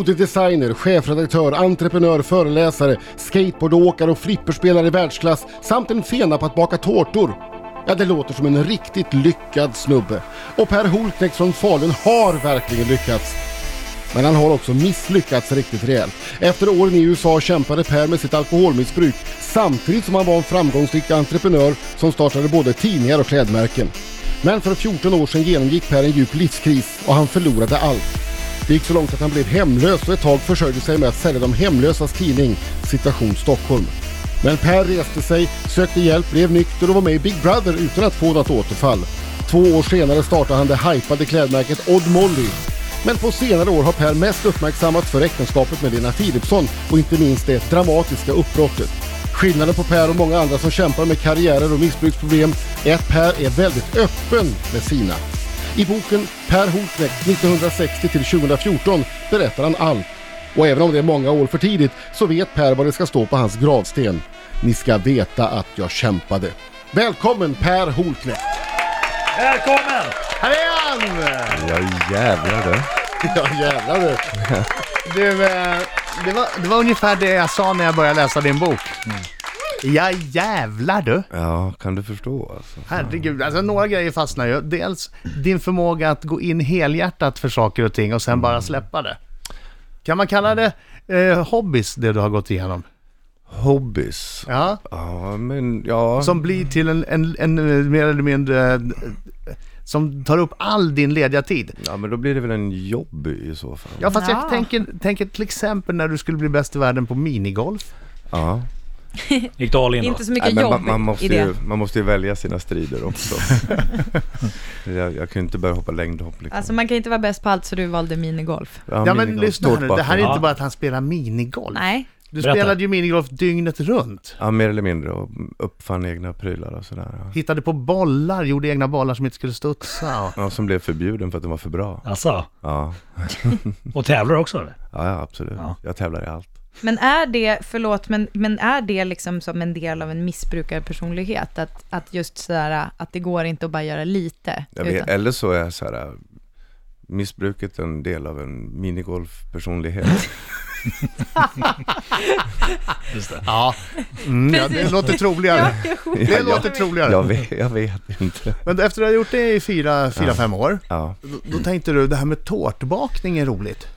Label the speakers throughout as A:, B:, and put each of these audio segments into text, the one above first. A: Modedesigner, chefredaktör, entreprenör, föreläsare, skateboardåkare och flipperspelare i världsklass samt en fena på att baka tårtor. Ja, det låter som en riktigt lyckad snubbe. Och Per Holknekt från Falun har verkligen lyckats. Men han har också misslyckats riktigt rejält. Efter åren i USA kämpade Per med sitt alkoholmissbruk samtidigt som han var en framgångsrik entreprenör som startade både tidningar och klädmärken. Men för 14 år sedan genomgick Per en djup livskris och han förlorade allt. Det gick så långt att han blev hemlös och ett tag försörjde sig med att sälja de hemlösas tidning Situation Stockholm. Men Per reste sig, sökte hjälp, blev nykter och var med i Big Brother utan att få något återfall. Två år senare startade han det hypade klädmärket Odd Molly. Men på senare år har Per mest uppmärksammats för äktenskapet med Lena Philipsson och inte minst det dramatiska uppbrottet. Skillnaden på Per och många andra som kämpar med karriärer och missbruksproblem är att Per är väldigt öppen med sina. I boken Per Holknekt 1960 till 2014 berättar han allt. Och även om det är många år för tidigt så vet Per vad det ska stå på hans gravsten. Ni ska veta att jag kämpade. Välkommen Per Holknekt!
B: Välkommen!
A: Här är han!
C: Ja jävlar du.
A: Ja jävlar du!
D: Du, eh, det var, det var ungefär det jag sa när jag började läsa din bok. Ja jävlar du!
C: Ja, kan du förstå alltså.
D: Herregud, alltså några grejer fastnar ju. Dels din förmåga att gå in helhjärtat för saker och ting och sen bara släppa det. Kan man kalla det eh, hobbies, det du har gått igenom?
C: Hobbies.
D: Ja,
C: Ja, men ja.
D: som blir till en, en, en eh, mer eller mindre... eh, Som tar upp all din lediga tid.
C: Ja, men då blir det väl en jobb i så fall.
D: Ja, fast
B: Ja.
D: jag tänker, tänker till exempel när du skulle bli bäst i världen på minigolf.
C: Ja.
B: Gick du all in då?
E: Inte så mycket
C: men
E: jobb
C: man, man, måste
E: i det.
C: ju, man måste ju välja sina strider också. jag, jag kan ju inte börja hoppa längdhopp liksom.
E: Alltså man kan inte vara bäst på allt så du valde minigolf.
D: Ja men
C: minigolf,
D: lyssna här nu, det här
C: ståtbacken.
D: är inte
B: Ja.
D: bara att han spelar minigolf.
E: Nej.
D: Du
B: Berätta.
D: spelade ju minigolf dygnet runt.
C: Ja, mer eller mindre. Och uppfann egna prylar och sådär. ja.
D: Hittade på bollar, gjorde egna bollar som inte skulle studsa. Och...
C: Ja, som blev förbjuden för att den var för bra.
B: Alltså,
C: Ja,
B: och tävlar också eller?
C: ja, ja absolut.
B: Ja.
C: Jag tävlar i allt.
E: Men är det, förlåt, men, men är det liksom som en del av en missbrukarpersonlighet? Att, att just sådär, att det går inte att bara göra lite.
C: Jag vet,
E: utan-
C: eller så är så här, missbruket en del av en minigolfpersonlighet.
B: Just det.
D: Ja. Mm, ja, det
E: Precis.
D: låter
E: ja,
D: troligare.
E: jag håller
D: Det
C: Ja,
D: låter
E: med.
C: Jag
D: troligare.
C: vet, jag vet inte.
D: Men efter att ha gjort det i fyra, fyra fem år,
C: Ja.
D: då, då tänkte du det här med tårtbakning är roligt.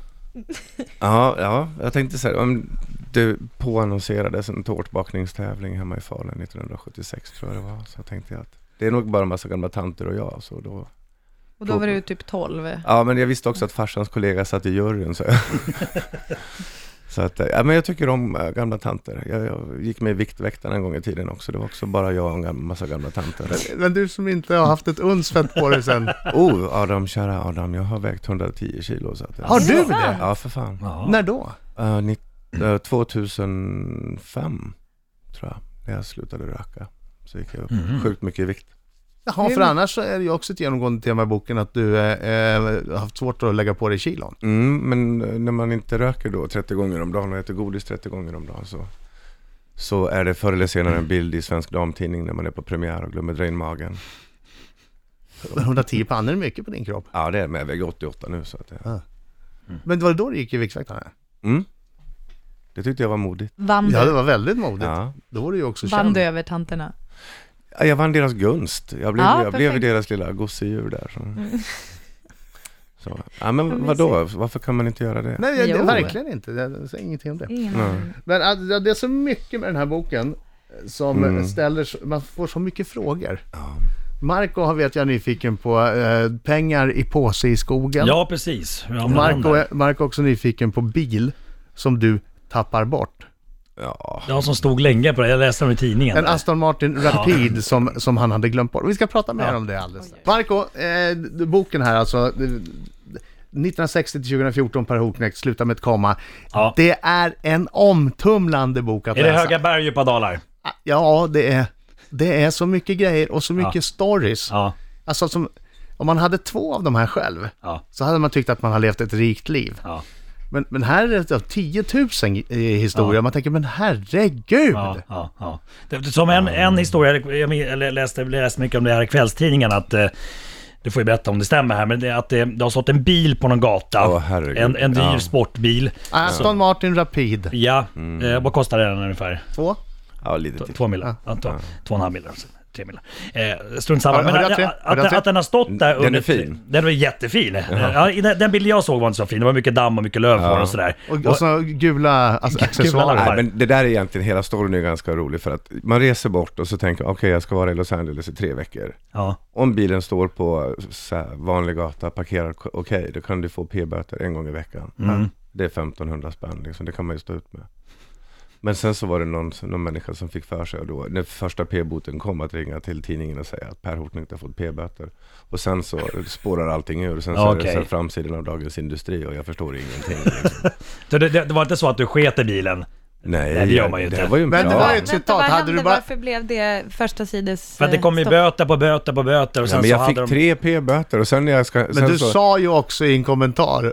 C: Ja, ja, jag tänkte så här, om det påannonserades en tårtbakningstävling hemma i Falun 1976 tror jag det var, så tänkte jag att det är nog bara en massa gamla tanter och jag, så då...
E: Och då var du typ 12.
C: Ja, men jag visste också att farsans kollega satt i juryn, så jag... Så att, ja men jag tycker om eh, gamla tanter. Jag, jag gick med i Viktväktarna en gång i tiden också, det var också bara jag och en gam- massa gamla tanter.
D: Men du som inte har haft ett uns fett på dig sen.
C: Oh, Adam, kära Adam, jag har vägt 110 kilo så att...
D: Har du det?
C: Ja, för fan.
B: Ja.
D: När då?
C: Eh, ni- eh, 2005 tror jag, när jag slutade röka. Så gick jag upp
B: Mhm.
C: sjukt mycket i vikt.
D: Jaha, för annars så är det ju också ett genomgående tema i boken att du eh, eh, har haft svårt att lägga på dig kilon.
C: Mm, men eh, när man inte röker då 30 gånger om dagen och äter godis 30 gånger om dagen så, så är det förr eller senare en bild i Svensk Damtidning när man är på premiär och glömmer dra in magen.
D: Men 110 pannor är mycket på din kropp.
C: Ja, det är med. Jag väger 88 nu så att det...
D: Men var det då du gick i Viktväktarna?
C: Mm. Det tyckte jag var modigt.
E: Vann
D: Ja, det
E: du,
D: var väldigt modigt.
C: Ja.
D: Då var du ju också
E: vann
D: känd.
E: du över tanterna?
C: Ja, Jag vann deras gunst. Jag blev,
E: Ja,
C: jag blev
E: perfekt. Mm.
C: deras lilla gosedjur där. Så. Så. Ja, men vadå? Varför kan man inte göra det?
D: Nej, jag, det,
E: Jo.
D: verkligen inte. Jag, jag säger ingenting om det.
E: Ingen
C: Nej.
E: aning.
D: Men alltså, det är så mycket med den här boken eh, som
C: Mm.
D: ställer, så- man får så mycket frågor.
C: Ja.
D: Marco har- vet jag är nyfiken på eh, pengar i påse i skogen.
B: Ja, precis. Hur hamnade han
D: Marco,
B: där?
D: är, Marco är också nyfiken på bil som du tappar bort.
C: Ja,
B: Jag som stod länge på det, jag läste om i tidningen.
D: En Aston Martin Rapid som, som han hade glömt bort. Vi ska prata mer
B: Ja.
D: om det alldeles strax. Marco, eh, d- boken här alltså. eh, 1960 till 2014 Per Hoknekt, sluta med ett komma.
B: Ja.
D: Det är en omtumlande bok att
B: är det
D: läsa.
B: höga berg och djupa dalar?
D: Ja, det är, det är så mycket grejer och så mycket
B: Ja.
D: stories.
B: Ja.
D: Alltså som, om man hade två av de här själv,
B: Ja.
D: så hade man tyckt att man har levt ett rikt liv.
B: Ja.
D: Men, men här är det 10 000 eh, historier,
B: Ja.
D: man tänker men herregud!
B: Ja, ja, ja. Det- Som en, en historia, jag läste, läste mycket om det här i kvällstidningen, att eh, du får ju berätta om det stämmer här, men det är att det, det har stått en bil på någon gata.
C: Åh, herregud.
B: en, en dyr
C: Ja.
B: sportbil.
D: Aston Martin Rapid.
B: Ja,
C: Mm.
B: eh, vad kostar den ungefär?
D: Två.
C: Ja, lite
B: T-
C: till.
B: Två millar. Ja. två, två och en halv millar. alltså. Tre millar. Eh, strunt samma.
D: Har- har
B: Men
D: jag
B: att,
D: tre? Har
B: att,
D: jag
B: att,
D: tre?
B: den har stått där
C: Den är
B: under...
C: fin.
B: Den var jättefin. Eh, Ja, i den, den bild jag såg var inte så fin. Det var mycket damm och mycket löv på
C: Ja.
B: den och sådär.
D: Och, och så gula alltså, accessoarer.
B: lappar.
C: Nej, men det där är egentligen, hela storyn är ganska rolig för att man reser bort och så tänker okej jag ska vara i Los Angeles i tre veckor.
B: Ja.
C: Om bilen står på så här, vanlig gata, parkerad, okej, då kan du få p-böter en gång i veckan.
B: Mm.
C: Ja, Det är 1500 spänn, liksom, det kan man ju stå ut med. Men sen så var det någon, någon människa som fick för sig och då, när första p-boten kom, att ringa till tidningen och säga att Per Hortning har fått p-böter. Och sen så spårar allting ur, sen så är det
B: Okej.
C: så här, framsidan av Dagens Industri och jag förstår ingenting. Liksom.
B: Så det, det, det var inte så att du sket i bilen?
C: Nej,
B: Nej, det gör man ju
C: det
B: inte.
C: här var ju en
D: Men det
C: bra-
D: var ju ett citat.
E: vad
D: Hade
E: hände?
D: du bara...
E: Varför blev det första sides... eh,
B: För att det kom ju
E: stopp?
B: böter på böter på böter och sen
C: Ja, men
B: så
C: jag
B: hade
C: fick
B: de...
C: tre p-böter och sen när jag ska...
D: Men
C: sen
D: du
C: så,
D: sa ju också i en kommentar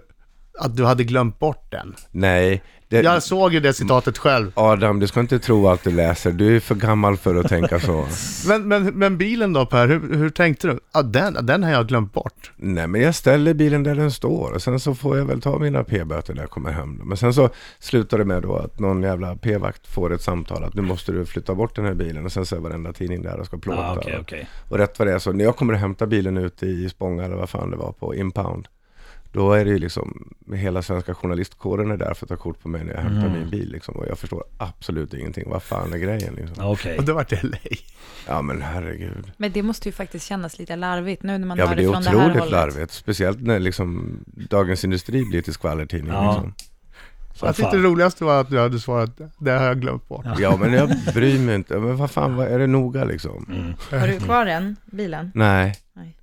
D: att du hade glömt bort den.
C: Nej. Det,
D: Jag såg ju det citatet själv.
C: Adam, du ska inte tro allt du läser. Du är för gammal för att tänka så.
D: Men, men, men bilen då Per, hur, hur tänkte du? Ja, den, den har jag glömt bort.
C: Nej, men jag ställer bilen där den står och sen så får jag väl ta mina p-böter när jag kommer hem. Då. Men sen så slutar det med då att någon jävla p-vakt får ett samtal att nu måste du flytta bort den här bilen och sen så är varenda tidning där och ska plåta.
B: Ja, Ah, okej,
C: och,
B: okej.
C: och rätt vad det är så, när jag kommer och hämtar bilen ute i Spånga eller vad fan det var på Impound, då är det ju liksom hela svenska journalistkåren är där för att ta kort på mig när jag hämtar
B: Mm.
C: min bil liksom, och jag förstår absolut ingenting. Vad fan är grejen liksom?
B: Ah, Okej.
D: Och det vart det LA.
C: Ja men herregud.
E: Men det måste ju faktiskt kännas lite larvigt nu när man
C: Ja,
E: hör
C: men det är
E: det från det här hållet.
C: otroligt larvigt. Speciellt när liksom Dagens Industri blir till skvallertidning.
B: Ja.
C: Liksom.
B: som
D: Jag tyckte det
B: fan.
D: roligaste var att du hade svarat det har jag glömt bort.
C: Ja, men jag bryr mig inte. Men vad fan, vad är det noga liksom?
B: Mm,
E: Har
D: Mm.
E: du kvar den, bilen?
C: Nej.
E: Nej.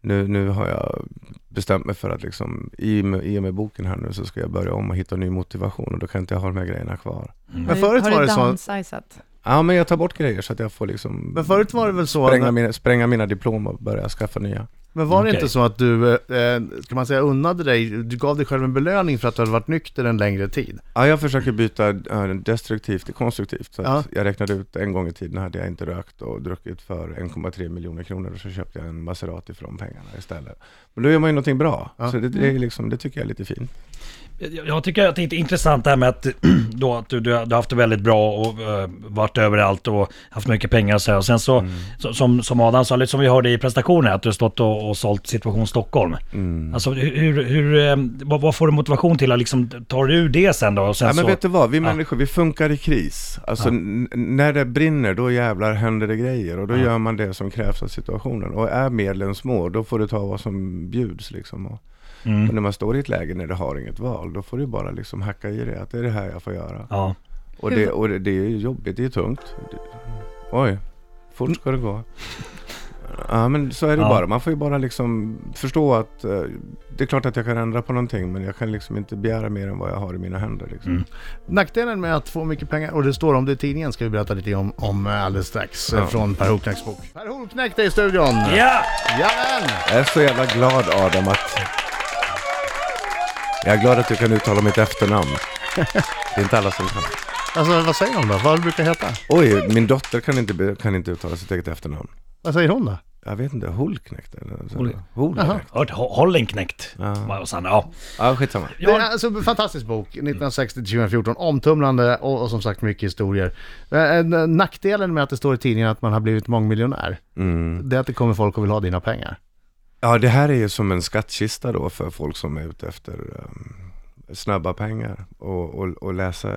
C: Nu, nu har jag bestämt mig för att liksom, i, och med, i och med boken här nu så ska jag börja om och hitta ny motivation och då kan inte jag ha de här grejerna kvar.
B: mm.
D: Men
E: Har du-
D: förut
E: har
D: var
E: du
D: det så...
E: downsizat?
C: Ja, men jag tar bort grejer så att jag får liksom
D: Men förut var det väl så...
C: spränga, mina, spränga mina diplom och börja skaffa nya.
D: Men var det
B: Okej.
D: inte så att du, eh, ska man säga, unnade dig, du gav dig själv en belöning för att du hade varit nykter en längre tid?
C: Ja, jag försöker byta eh, destruktivt till konstruktivt. Så att
D: Ja.
C: Jag räknade ut en gång i tiden hade jag inte rökt och druckit för 1,3 miljoner kronor och så köpte jag en Maserati för de pengarna istället. Men då gör man ju någonting bra,
D: Ja. Mm.
C: så det, det, är liksom, det tycker jag är lite fint.
B: Jag- Jag tycker att det är intressant det här med att, då, att du, du, har- du har haft det väldigt bra och eh, varit överallt och haft mycket pengar och så här. Och sen
C: Mm.
B: så, så som, som Adam sa, lite som vi hörde i presentationen, att du har stått och, och sålt Situation
C: Mm.
B: Stockholm. Alltså hur, hur eh, vad, vad får du motivation till att liksom, tar du ur det sen då? Och sen
C: Ja, men
B: så,
C: vet du vad, vi
B: Ja.
C: människor vi funkar i kris. Alltså n- när det brinner då jävlar händer det grejer och då
B: Ja.
C: gör man det som krävs av situationen. Och är medlen små då får du ta vad som bjuds liksom. Och,
B: Mm.
C: och när man står i ett läge när du har inget val då får du bara liksom hacka i det, att det är det här jag får göra.
B: Ja.
C: Och
E: Hur-
C: det, och det, det är ju jobbigt, det är tungt. Det- Oj, fort ska det gå. Ja men så är det
B: Ja.
C: bara. Man får ju bara liksom förstå att eh, det är klart att jag kan ändra på någonting men jag kan liksom inte begära mer än vad jag har i mina händer. Liksom.
B: Mm.
D: Nackdelen med att få mycket pengar, och det står om det i tidningen, ska vi berätta lite om, om eh, alldeles strax, eh,
C: Ja.
D: från Per Holknekts bok. Per Holknekt är i studion!
B: Ja!
D: Jajamän!
C: Jag är så jävla glad Adam att... Jag är glad att du kan uttala mitt efternamn. Det är inte alla som kan.
D: Alltså vad säger hon då? Vad brukar det heta?
C: Oj, min dotter kan inte, be- kan inte uttala sitt eget efternamn.
D: Vad säger hon då?
C: Jag vet inte, Holknekt eller? så.
B: Hol-
D: Jaha.
C: Holknekt.
B: Hört Ho- Hollen knäckt.
C: Ja.
B: Och sen, ja.
C: ja, skitsamma.
D: Det är alltså en fantastisk bok, 1960-2014, omtumlande och, och som sagt mycket historier. Eh, eh, Nackdelen med att det står i tidningen att man har blivit mångmiljonär,
C: Mm.
D: det är att det kommer folk och vill ha dina pengar.
C: Ja, det här är ju som en skattkista då för folk som är ute efter ehm, snabba pengar och, och, och läsa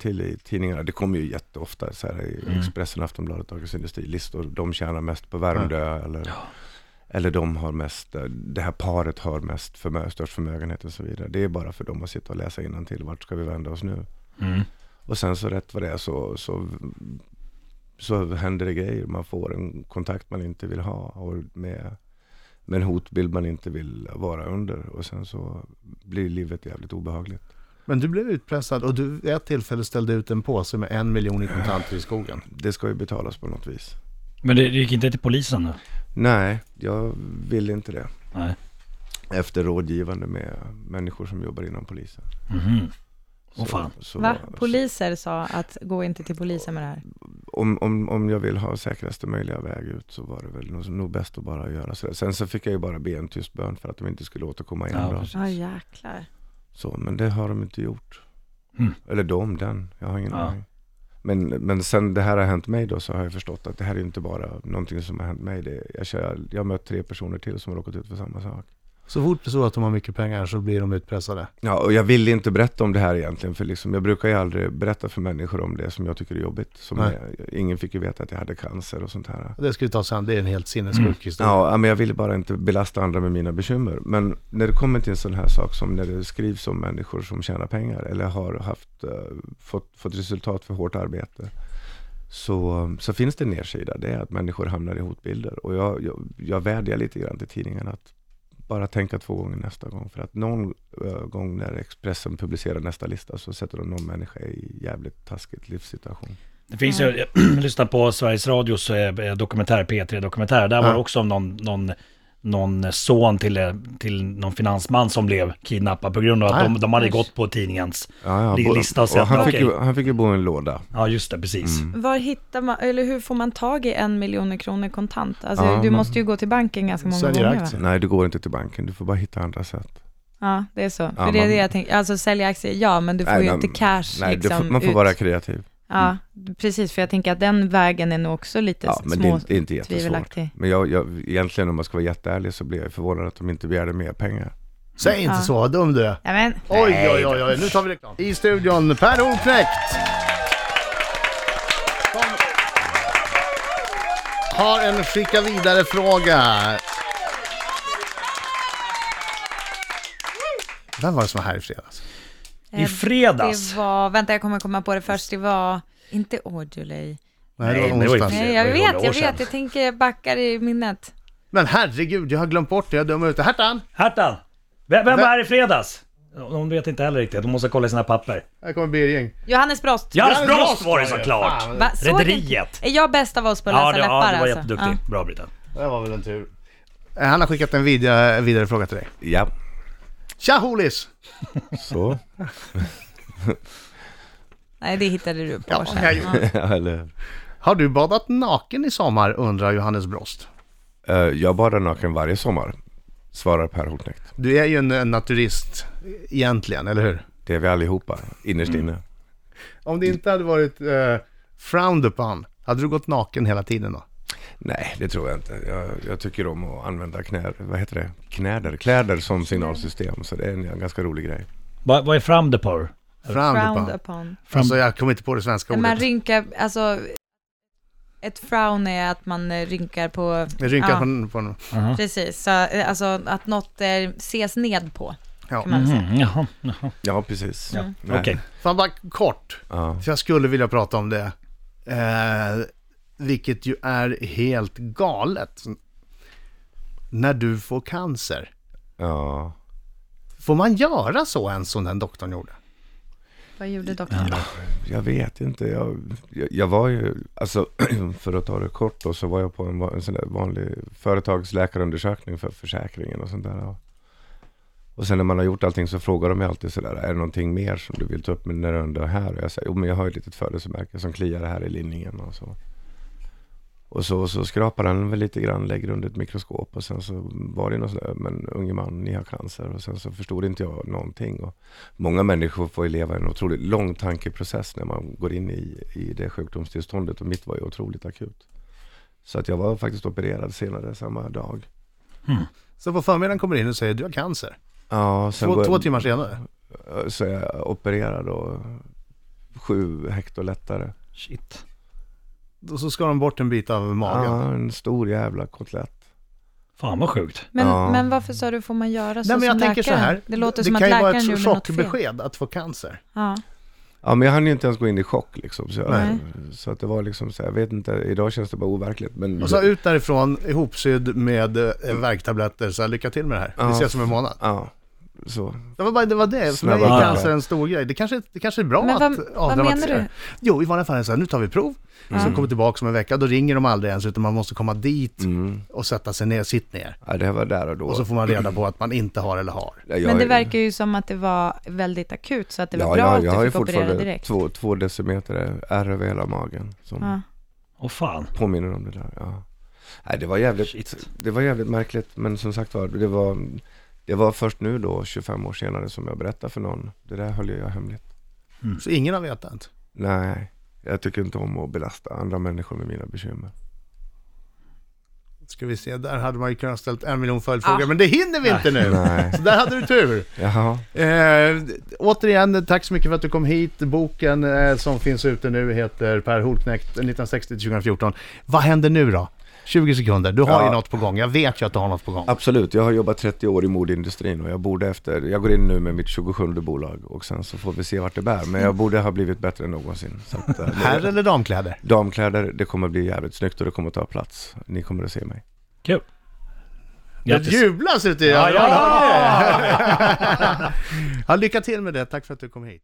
C: till i tidningarna. Det kommer ju jätteofta så här i Expressen, Aftonbladet, Dagens Industri, listor. De tjänar mest på Värmdö eller, eller de har mest, eh, det här paret har mest förmö- störst förmögenhet och så vidare. Det är bara för dem att sitta och läsa till. Vart ska vi vända oss nu?
B: Mm.
C: Och sen så rätt vad det är så, så, så händer det grejer. Man får en kontakt man inte vill ha och med, med en hotbild man inte vill vara under. Och sen så blir livet jävligt obehagligt.
D: Men du blev utpressad och du vid ett tillfälle ställde ut en påse med en miljon i kontanter i skogen.
C: Det ska ju betalas på något vis.
B: Men det, det gick inte till polisen då?
C: Nej, jag vill inte det.
B: Nej.
C: Efter rådgivande med människor som jobbar inom polisen.
B: Mhm.
C: Så-
B: Åh fan.
C: så-
E: Va?
C: så-
E: Poliser sa att gå inte till polisen med det här.
C: om, om, om jag vill ha säkraste möjliga väg ut så var det väl nog, nog bäst att bara göra sådär. Sen så fick jag ju bara be en tyst bön för att de inte skulle återkomma igen
B: Ja,
C: då.
B: precis.
E: Ja, jäklar.
C: Så, men det har de inte gjort.
B: Mm.
C: Eller de, den. Jag har ingen
B: Ja.
C: aning. Men, men sen det här har hänt mig då så har jag förstått att det här är ju inte bara någonting som har hänt mig. Det, jag, kör, jag har mött tre personer till som har råkat ut för samma sak.
D: Så fort det är så att de har mycket pengar så blir de utpressade.
C: Ja, och jag vill inte berätta om det här egentligen, för liksom, jag brukar ju aldrig berätta för människor om det som jag tycker är jobbigt. Som
D: Nej.
C: jag, ingen fick ju veta att jag hade cancer och sånt här.
D: Det ska vi ta sen, det är en helt
B: Mm.
D: sinnessjuk historia.
C: Ja, men jag ville bara inte belasta andra med mina bekymmer. Men när det kommer till en sån här sak som när det skrivs om människor som tjänar pengar eller har haft, eh, fått, fått resultat för hårt arbete. Så, så finns det en nedsida, det är att människor hamnar i hotbilder. Och jag, jag, jag vädjar lite grann till tidningarna att bara tänka två gånger nästa gång. För att någon eh, gång när Expressen publicerar nästa lista så sätter de någon människa i jävligt taskigt livssituation.
B: Det finns ju, jag lyssnade på Sveriges Radios eh, eh, dokumentär, P3-dokumentär, där var
D: Ja.
B: det också om någon, någon, någon son till, eh, till någon finansman som blev kidnappad på grund av att
D: Nej.
B: de, de hade
E: Usch.
B: gått på tidningens...
C: Ja,
B: Det är
C: bo-
B: lista och
C: och han,
B: sätta,
C: fick ju,
B: okej.
C: han fick ju bo i en låda.
B: Ja, just det, precis.
C: Mm.
E: Var hittar man, eller hur får man tag i en miljon kronor kontant? Alltså,
C: Ja,
E: du
C: man-
E: måste ju gå till banken ganska många
D: Säljer
E: gånger va?
D: aktier.
C: Nej, det går inte till banken. Du får bara hitta andra sätt.
E: Ja, det är så. För
C: Ja,
E: det är
C: man-
E: det jag tänker, alltså sälja aktier, ja, men du får
C: Nej,
E: ju
C: men-
E: inte cash
C: Nej, du
E: liksom
C: får, man får
E: ut.
C: vara kreativ.
E: Ja, precis, för jag tänker att den vägen är nog också lite
C: Ja, men det
E: små,
C: är, det är inte jättesvårt.
E: tvivelaktig.
C: Men jag, jag, egentligen om man ska vara jätteärlig så blev jag förvånad att de inte begärde mer pengar.
D: Säg inte
E: Ja.
D: så, vad dum du är.
E: Ja, men,
D: Oj, oj, oj, oj, nu tar vi reklam. I studion, Per Oknäckt! Som Har en skicka vidare-fråga. Vem var det som var här i fredags?
B: I fredags.
E: eh, Det var, vänta jag kommer komma på det först, det var inte Audio
B: Nej, det var ju
D: onsdags.
B: fel.
E: Nej,
B: var
E: jag
B: ju
E: vet,
B: hundra år
E: jag
B: sedan.
E: vet. Jag tänker jag backar i minnet.
D: Men herregud, jag har glömt bort det. Jag är dum ute. Hertan!
B: Hertan! Vem, vem
D: Vem-
B: var här i fredags? De vet inte heller riktigt, de måste kolla i sina papper.
D: Här kommer Birging.
E: Johannes Brost.
B: Johannes Brost var det såklart!
D: Fan,
E: Va, såg
B: Rederiet.
E: inte- Är jag bäst av oss på att
B: Ja,
E: läsa
B: det, ja,
E: läppar
B: du var
E: alltså?
B: jätteduktig. Bra Brita.
D: Det var väl en tur. Eh, Han har skickat en vidare, vidare fråga till dig.
C: Ja,
D: Tja Holis!
C: så.
E: Ja. Nej, det hittade du på
D: Ja,
E: sen.
D: jag
E: Ja.
C: Eller, hur?
D: Har du badat naken i sommar undrar Johannes Brost.
C: Eh, jag badar naken varje sommar, svarar Per Holtnekt.
D: Du är ju en eh, naturist egentligen, eller hur?
C: Det är vi allihopa, innerst inne.
D: Om det inte hade varit eh, frowned upon, hade du gått naken hela tiden då?
C: Nej, det tror jag inte. Jag, jag tycker om att använda knä, vad heter det? knäder, kläder som signalsystem. Så det är en ganska rolig grej.
B: Vad vad är fram the power?
D: Frowned, upon.
E: Frowned upon.
D: Alltså
B: Mhm,
D: jag kommer inte på det svenska
E: När man
D: ordet.
E: rynkar, alltså... Ett frown är att man eh, rynkar på...
D: Jag rynkar
E: Ja.
D: på, på en...
E: Precis, så, eh, alltså att något eh, ses ned på.
D: Ja.
E: Kan man säga.
B: Mm, jaha, jaha.
C: Ja, precis.
B: Ja.
C: Nej.
B: Okej.
D: Fan bara kort,
C: Ja.
D: för jag skulle vilja prata om det. Eh, vilket ju är helt galet. När du får cancer.
C: ja.
D: Får man göra så ens som den doktorn gjorde?
E: Vad gjorde doktorn?
C: Jag vet inte. Jag, jag, jag var ju, alltså för att ta det kort då, så var jag på en, va- en sån där vanlig företagsläkarundersökning för försäkringen och sånt där. ja. Och sen när man har gjort allting så frågar de ju alltid sådär, är det någonting mer som du vill ta upp med när du ändå är här? Och jag säger, jo men jag har ju ett litet födelsemärke som kliar här i linningen och så. Och så, så skrapar han väl lite grann, lägger under ett mikroskop och sen så var det något sådär, men unge man, ni har cancer. Och sen så förstod inte jag någonting. Och många människor får ju leva en otroligt lång tankeprocess när man går in i, i det sjukdomstillståndet och mitt var ju otroligt akut. Så att jag var faktiskt opererad senare samma dag.
D: Så på förmiddagen kommer du in och säger du har cancer.
C: Ja, sen
D: Två,
C: går
D: två
C: jag,
D: timmar senare.
C: så är jag opererad och sju hekto lättare.
B: Shit.
D: Och så ska de bort en bit av magen.
C: Ja, en stor jävla kotlett.
B: Fan vad sjukt.
E: Men,
C: Ja.
E: men varför sa du får man göra så
D: Nej men jag
E: Alltså, som
D: tänker så
E: läkaren?
D: här.
E: Det låter som att
D: kan ju vara ett
E: läkaren gjorde något fel.
D: chockbesked att få cancer.
C: Mm.
E: Ja.
C: Ja, men jag hann ju inte ens gå in i chock liksom. Så, jag,
E: Nej.
C: så att det var liksom så här, jag vet inte, idag känns det bara overkligt. Men
D: Och så ut därifrån ihopsydd med eh, värktabletter. Så här, lycka till med det här. Vi
C: Ja.
D: ses om en månad.
C: Ja, så.
D: Det var bara det. Var det. För mig
C: Snabba
D: är cancer
C: kontakt.
D: en stor grej. Det kanske, det kanske är bra
E: Men vad-
D: att
E: vad
D: avdramatisera.
E: menar du?
D: Jo, i vanliga fall är det så här, nu tar vi prov.
C: Mm.
D: Sen kommer tillbaka om en vecka, då ringer de aldrig ens, utan man måste komma dit
C: Mm.
D: och sätta sig ner, sitt ner.
C: Ja, det var där och då.
D: Och så får man reda på att man inte har eller har.
C: Ja, jag-
E: Men det verkar ju som att det var väldigt akut, så att det var
C: ja,
E: bra
C: jag,
E: att
C: jag har
E: du
C: ju
E: fick operera
C: fortfarande
E: direkt.
C: två, två decimeter ärr över hela magen. Som,
E: Ja.
B: Åh fan.
C: Påminner om det där, ja. Nej, det var jävligt,
B: Shit.
C: det var jävligt märkligt, men som sagt var, det var, det var först nu då, 25 år senare, som jag berättade för någon. Det där höll jag hemligt.
D: Så ingen har vetat?
C: Nej, jag tycker inte om att belasta andra människor med mina bekymmer.
D: Ska vi se, där hade man ju kunnat ställt en miljon följdfrågor,
E: Ah.
D: men det hinner vi inte nu.
C: Nej,
D: Så där hade du tur.
C: jaha.
D: Eh, återigen, tack så mycket för att du kom hit. Boken eh, som finns ute nu heter Per Holknekt 1960-2014. Vad händer nu då? 20 sekunder. Du har
C: Ja.
D: ju något på gång. Jag vet ju att du har något på gång.
C: Absolut, jag har jobbat 30 år i modeindustrin och jag borde efter, jag går in nu med mitt 27 bolag och sen så får vi se vart det bär. Men jag borde ha blivit bättre än någonsin. Så att, eh,
D: Herr eller damkläder?
C: Damkläder, det kommer bli jävligt snyggt och det kommer ta plats. Ni kommer att se mig.
B: Kul.
D: Det jublas ute i
B: Ja, ja,
D: öronen. ja. Lycka till med det. Tack för att du kom hit.